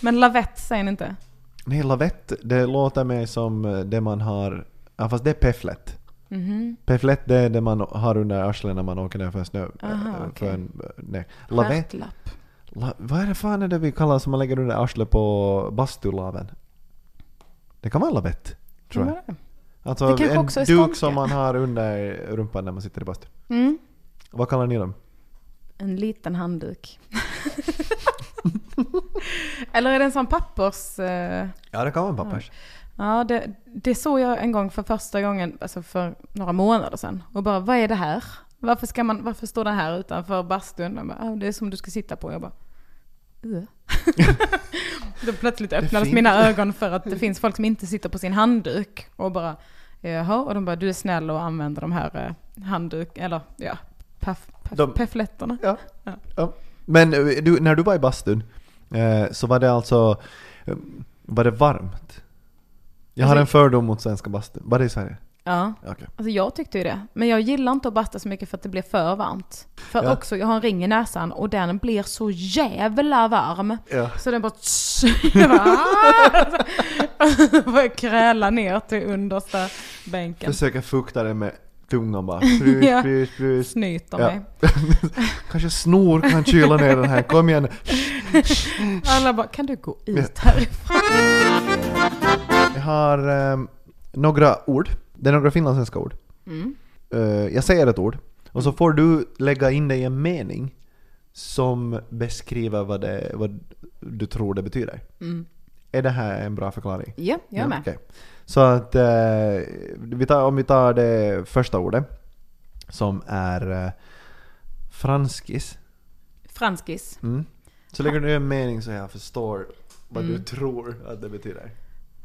Speaker 2: Men lavett säger ni inte?
Speaker 1: Nej, lavett, det låter mig som eh, det man har... Ja, fast det är pefflet.
Speaker 2: Mhm.
Speaker 1: Pefflet det är det man har under arslet när man åker ner för en snö... eh,
Speaker 2: Aha,
Speaker 1: för
Speaker 2: okej.
Speaker 1: en, nej. Lavett,
Speaker 2: Stjärtlapp.
Speaker 1: la, vad är det fan är det vi kallar som man lägger under arslet på bastulaven? Det kan vara lavett, tror jag.
Speaker 2: Ja,
Speaker 1: Alltså
Speaker 2: Det kanske
Speaker 1: en
Speaker 2: också är
Speaker 1: duk
Speaker 2: skånska.
Speaker 1: som man har under rumpan när man sitter i bastun.
Speaker 2: Mm.
Speaker 1: Vad kallar ni dem?
Speaker 2: En liten handduk. Eller är det en sån pappers... eh,
Speaker 1: Ja, det kan vara en pappers.
Speaker 2: Ja, det, det såg jag en gång för första gången, alltså för några månader sedan. Och bara, vad är det här? Varför, ska man, varför står den här utanför bastun? Och Bara, "Ah, det är som du ska sitta på. Jag bara, "Ugh." Då plötsligt öppnades
Speaker 1: finns-
Speaker 2: mina ögon för att det finns folk som inte sitter på sin handduk. Och bara, jaha, och de bara, du är snäll och använder de här eh, handduk, eller ja, paff, paff,
Speaker 1: De-
Speaker 2: peffletterna.
Speaker 1: Ja.
Speaker 2: Ja.
Speaker 1: ja. Men eh, du, när du var i bastun eh, så var det alltså... eh, Var det varmt? Jag har
Speaker 2: Alltså-
Speaker 1: en fördom mot svenska bastun. Var det i Sverige?
Speaker 2: Ja.
Speaker 1: Okej.
Speaker 2: Alltså jag tyckte ju det. Men jag gillar inte att basta så mycket för att det blir för varmt. För
Speaker 1: Ja.
Speaker 2: också, jag har en ring i näsan och den blir så jävla varm.
Speaker 1: Ja.
Speaker 2: Så den bara... jag bara, "Ah!" Så får jag kräla ner till understa bänken.
Speaker 1: Försöka fukta den med tungan bara.
Speaker 2: Ja.
Speaker 1: Frus, frus, frus.
Speaker 2: Snyter
Speaker 1: Ja.
Speaker 2: mig.
Speaker 1: Kanske snor kan kyla ner den här. Kom igen.
Speaker 2: Alla bara, kan du gå ut härifrån?
Speaker 1: Jag har eh, några ord. Det är några finlandssvenska ord.
Speaker 2: Mm.
Speaker 1: Eh, jag säger ett ord och så får du lägga in det i en mening som beskriver vad, det, vad du tror det betyder.
Speaker 2: Mm.
Speaker 1: Är det här en bra förklaring?
Speaker 2: Ja, jag är med.
Speaker 1: okej. Så att eh, vi tar, om vi tar det första ordet som är eh, franskis.
Speaker 2: Franskis.
Speaker 1: Mm. Så lägger du en mening så jag förstår vad du
Speaker 2: Mm.
Speaker 1: tror att det betyder.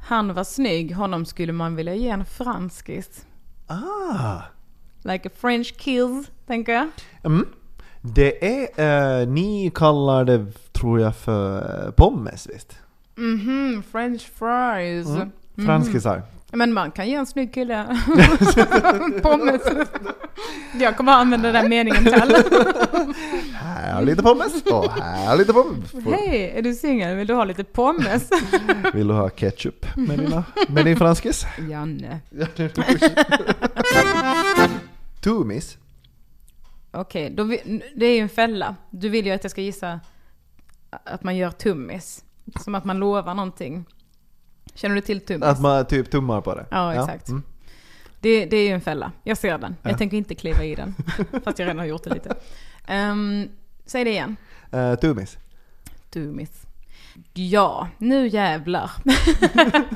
Speaker 2: Han var snygg, honom skulle man vilja ge en franskis.
Speaker 1: Ah!
Speaker 2: Like a French kiss, tänker jag.
Speaker 1: Mm. Det är, eh, ni kallar det tror jag för eh, pommes visst?
Speaker 2: Mhm, French fries.
Speaker 1: Mm.
Speaker 2: Mm-hmm.
Speaker 1: Franskisar.
Speaker 2: Men man kan ge en snygg kille pommes. Jag kommer att använda den meningen till alla.
Speaker 1: Här har lite pommes och här har lite pommes.
Speaker 2: Hej, är du singel? Vill du ha lite pommes?
Speaker 1: Vill du ha ketchup
Speaker 2: Mm-hmm.
Speaker 1: med, dina, med din franskis?
Speaker 2: Janne.
Speaker 1: Tumis.
Speaker 2: Okej, då vi- det är ju en fälla. Du vill ju att jag ska gissa att man gör tummis. Som att man lovar någonting. Känner du till tummis?
Speaker 1: Att man typ tummar på det.
Speaker 2: Ja, exakt.
Speaker 1: Mm.
Speaker 2: Det, det är ju en fälla. Jag ser den. Jag
Speaker 1: Ja.
Speaker 2: tänker inte kliva i den. Fast jag redan har gjort det lite. Ehm, säg det igen.
Speaker 1: Eh, tumis.
Speaker 2: Dummis. Ja, nu jävlar.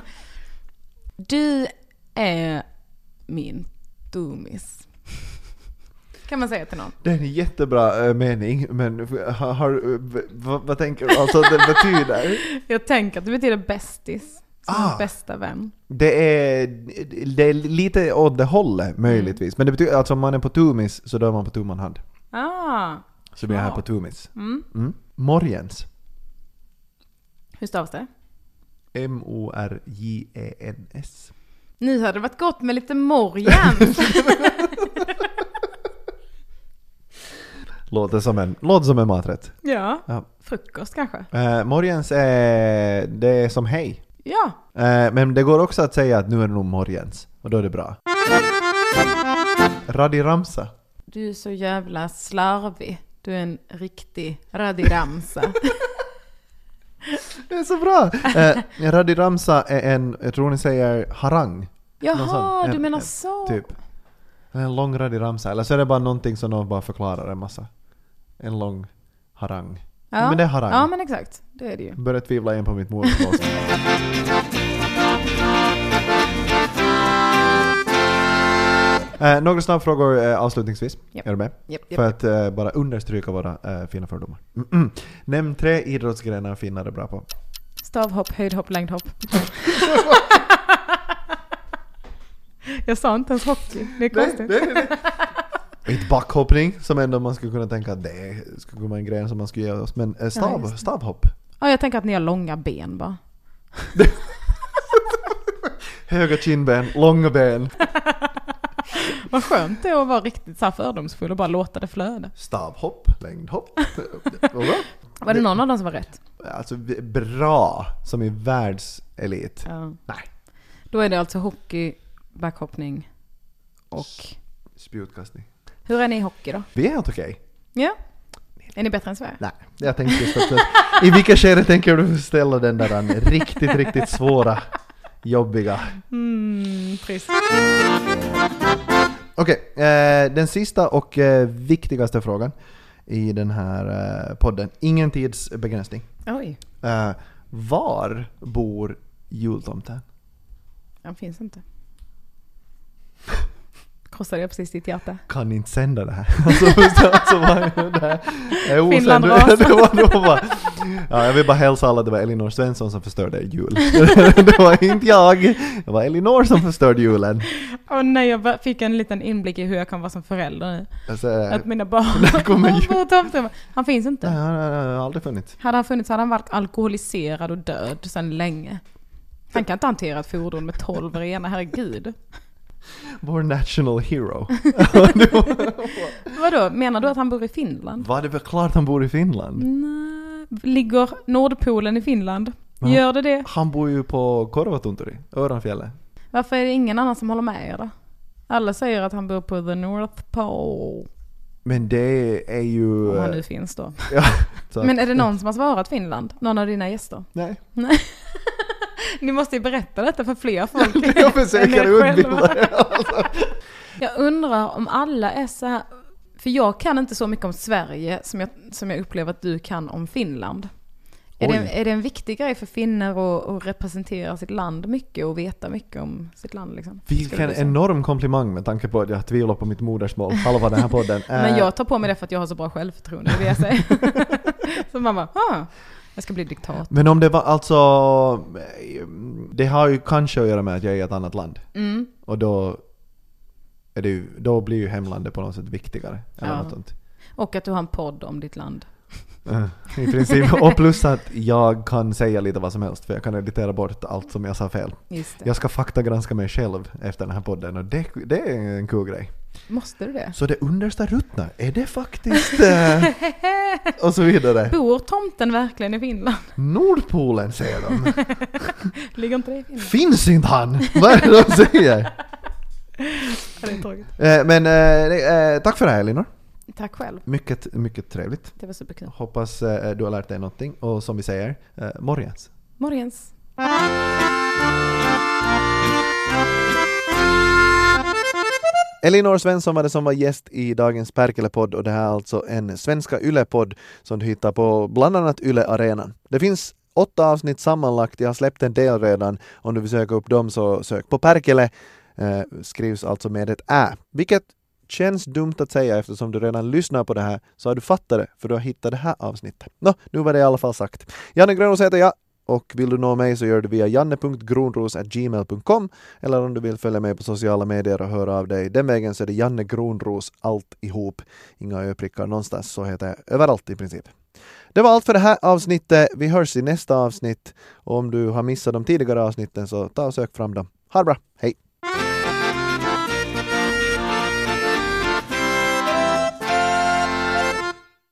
Speaker 2: du är min dummis. Kan man säga till någon.
Speaker 1: Det är en jättebra eh, mening, men har, har, eh, v, vad- vad tänker du alltså att det betyder?
Speaker 2: Jag tänker att det betyder bästis. Som
Speaker 1: Ah.
Speaker 2: bästa vän.
Speaker 1: Det är, det är lite åt det hållet möjligtvis, men det betyder alltså om man är på tumis så då är man på tu man hand.
Speaker 2: Ah.
Speaker 1: Så vi är här
Speaker 2: Ja.
Speaker 1: på tumis.
Speaker 2: Mm.
Speaker 1: Mm. Morgens.
Speaker 2: Hur stavas det?
Speaker 1: E M-O-R-J-E-N-S.
Speaker 2: Nu hade det varit gott med lite morjäms.
Speaker 1: Låter som en, låter som en maträtt.
Speaker 2: ja.
Speaker 1: Ja.
Speaker 2: Frukost kanske.
Speaker 1: Eh, morgens är, det är som hej.
Speaker 2: Ja.
Speaker 1: Eh, men det går också att säga att nu är det nog morgens. Och då är det bra. Radiramsa.
Speaker 2: Du är så jävla slarvig. Du är en riktig radiramsa.
Speaker 1: Det är så bra! Eh, radiramsa är en, jag tror ni säger harang. Någon
Speaker 2: Jaha,
Speaker 1: sån.
Speaker 2: du
Speaker 1: En-
Speaker 2: menar
Speaker 1: en-
Speaker 2: så.
Speaker 1: Typ. En lång radiramsa. Eller så är det bara någonting som någon bara förklarar en massa. En lång harang.
Speaker 2: Ja.
Speaker 1: Men det är harang.
Speaker 2: Ja, men exakt. Det är det ju.
Speaker 1: Börjar tvivla igen på mitt modersmål. eh, några snabbfrågor eh, avslutningsvis.
Speaker 2: Japp.
Speaker 1: Är du med?
Speaker 2: Japp, japp.
Speaker 1: För att eh, bara understryka våra eh, fina fördomar. Mm-mm. Nämn tre idrottsgrenar finnar är bra på.
Speaker 2: Stavhopp, höjdhopp, längdhopp. Jag sa inte ens hockey. Det är konstigt.
Speaker 1: Inte backhoppning, som ändå man skulle kunna tänka att det skulle kunna vara en gren som man skulle ge oss. Men eh, stav,
Speaker 2: just det.
Speaker 1: stavhopp.
Speaker 2: Ja, jag tänker att ni har långa ben bara.
Speaker 1: Höga kindben, långa ben,
Speaker 2: Vad skönt det är att vara riktigt så här fördomsfull och bara låta det flöda.
Speaker 1: stavhopp, längdhopp. Och då?
Speaker 2: Var det någon av dem som var rätt?
Speaker 1: Alltså vi- bra, som i världselit.
Speaker 2: Ja.
Speaker 1: Nej.
Speaker 2: Då är det alltså hockey, backhoppning och...
Speaker 1: Spjutkastning.
Speaker 2: Hur är ni i hockey då?
Speaker 1: Vi är helt okej.
Speaker 2: Ja? Är ni bättre än Sverige?
Speaker 1: Nej, jag tänkte just att eh, i vilka skede tänker du ställa den där an, riktigt, riktigt svåra, jobbiga?
Speaker 2: Mm, trist.
Speaker 1: Okej, eh, den sista och eh, viktigaste frågan i den här eh, podden. Ingen tidsbegränsning.
Speaker 2: Oj,
Speaker 1: Eh, var bor jultomten?
Speaker 2: han finns inte. Krossade jag precis ditt hjärta?
Speaker 1: Kan inte sända det här. Alltså, alltså var det här är osänd-
Speaker 2: Finland
Speaker 1: det
Speaker 2: rasar.
Speaker 1: var- det var bara- ja, Jag vill bara hälsa alla att det var Elinor Svensson som förstörde jul. Det var inte jag. Det var Elinor som förstörde julen.
Speaker 2: Åh nej, jag bara fick en liten inblick i hur jag kan vara som förälder nu.
Speaker 1: Alltså,
Speaker 2: Att
Speaker 1: nej,
Speaker 2: mina
Speaker 1: Där kommer ju-
Speaker 2: barn... Tomten. han finns
Speaker 1: han
Speaker 2: inte.
Speaker 1: har han har aldrig funnits.
Speaker 2: Hade han funnits hade han varit alkoholiserad och död sedan länge. Han kan inte hantera ett fordon med tolv rena, herregud.
Speaker 1: Vår national hero.
Speaker 2: Vadå, menar du att han bor i Finland?
Speaker 1: Var det väl klart han bor i Finland?
Speaker 2: Nej. Ligger Nordpolen i Finland?
Speaker 1: Ja.
Speaker 2: Gör det det?
Speaker 1: Han bor ju på Korvatunturi, Öranfjället.
Speaker 2: Varför är det ingen annan som håller med er då? Alla säger att han bor på the North Pole.
Speaker 1: Men det är ju...
Speaker 2: Om han nu finns då.
Speaker 1: ja, så att-
Speaker 2: Men är det någon som har svarat Finland? Någon av dina gäster?
Speaker 1: Nej,
Speaker 2: Ni måste ju berätta detta för fler folk.
Speaker 1: jag försöker
Speaker 2: Än er själva.
Speaker 1: utbilda
Speaker 2: Jag undrar om alla är så här... För jag kan inte så mycket om Sverige som jag, som jag upplever att du kan om Finland. Är
Speaker 1: Oj.
Speaker 2: det, är det en viktig grej för finnar att, att representera sitt land mycket och veta mycket om sitt land? Liksom? Skulle
Speaker 1: Vilken
Speaker 2: du säga?
Speaker 1: enorm komplimang med tanke på att jag tvivlar på mitt modersmål halva den här podden.
Speaker 2: Men
Speaker 1: Eh,
Speaker 2: jag tar på mig det för att jag har så bra självförtroende, det vill jag säga. så man bara, ah, jag ska bli diktator.
Speaker 1: men om det var alltså... eh, Det har ju kanske att göra med att jag är i ett annat land.
Speaker 2: Mm.
Speaker 1: Och då, är det ju, då blir ju hemlandet på något sätt viktigare. Eller
Speaker 2: Ja.
Speaker 1: något sånt.
Speaker 2: Och att du har en podd om ditt land.
Speaker 1: Eh, I princip. Och plus att jag kan säga lite vad som helst för jag kan editera bort allt som jag sa fel.
Speaker 2: Just det.
Speaker 1: Jag ska faktagranska mig själv efter den här podden och det, det är en kul grej.
Speaker 2: Måste du det?
Speaker 1: Så det understa ruttnar, är det faktiskt... eh, och så vidare.
Speaker 2: Bor tomten verkligen i Finland?
Speaker 1: Nordpolen säger de.
Speaker 2: Ligger inte det i Finland?
Speaker 1: Finns inte han? Vad är det de säger?
Speaker 2: Ja, det är tråkigt.
Speaker 1: Eh, Men eh, eh, tack för det här Elinor.
Speaker 2: Tack själv.
Speaker 1: Mycket, mycket trevligt.
Speaker 2: Det var superkul.
Speaker 1: Hoppas eh, du har lärt dig någonting och som vi säger, eh, morgens.
Speaker 2: Morgens.
Speaker 1: Elinor Svensson var det som var gäst i dagens Perkele-podd och det här är alltså en svenska Yle-podd som du hittar på bland annat Yle Arenan. Det finns åtta avsnitt sammanlagt, jag har släppt en del redan. Om du vill söka upp dem så sök på Perkele, eh, skrivs alltså med ett ä. Vilket känns dumt att säga eftersom du redan lyssnar på det här så har du fattat det för du har hittat det här avsnittet. Nå, nu var det i alla fall sagt. Janne Grönros heter jag och vill du nå mig så gör du via janne.gronros.gmail.com eller om du vill följa mig på sociala medier och höra av dig den vägen så är det Janne Gronros alltihop. Inga öprickar någonstans, så heter jag överallt i princip. Det var allt för det här avsnittet. Vi hörs i nästa avsnitt. Och om du har missat de tidigare avsnitten så ta och sök fram dem. Ha det bra. Hej!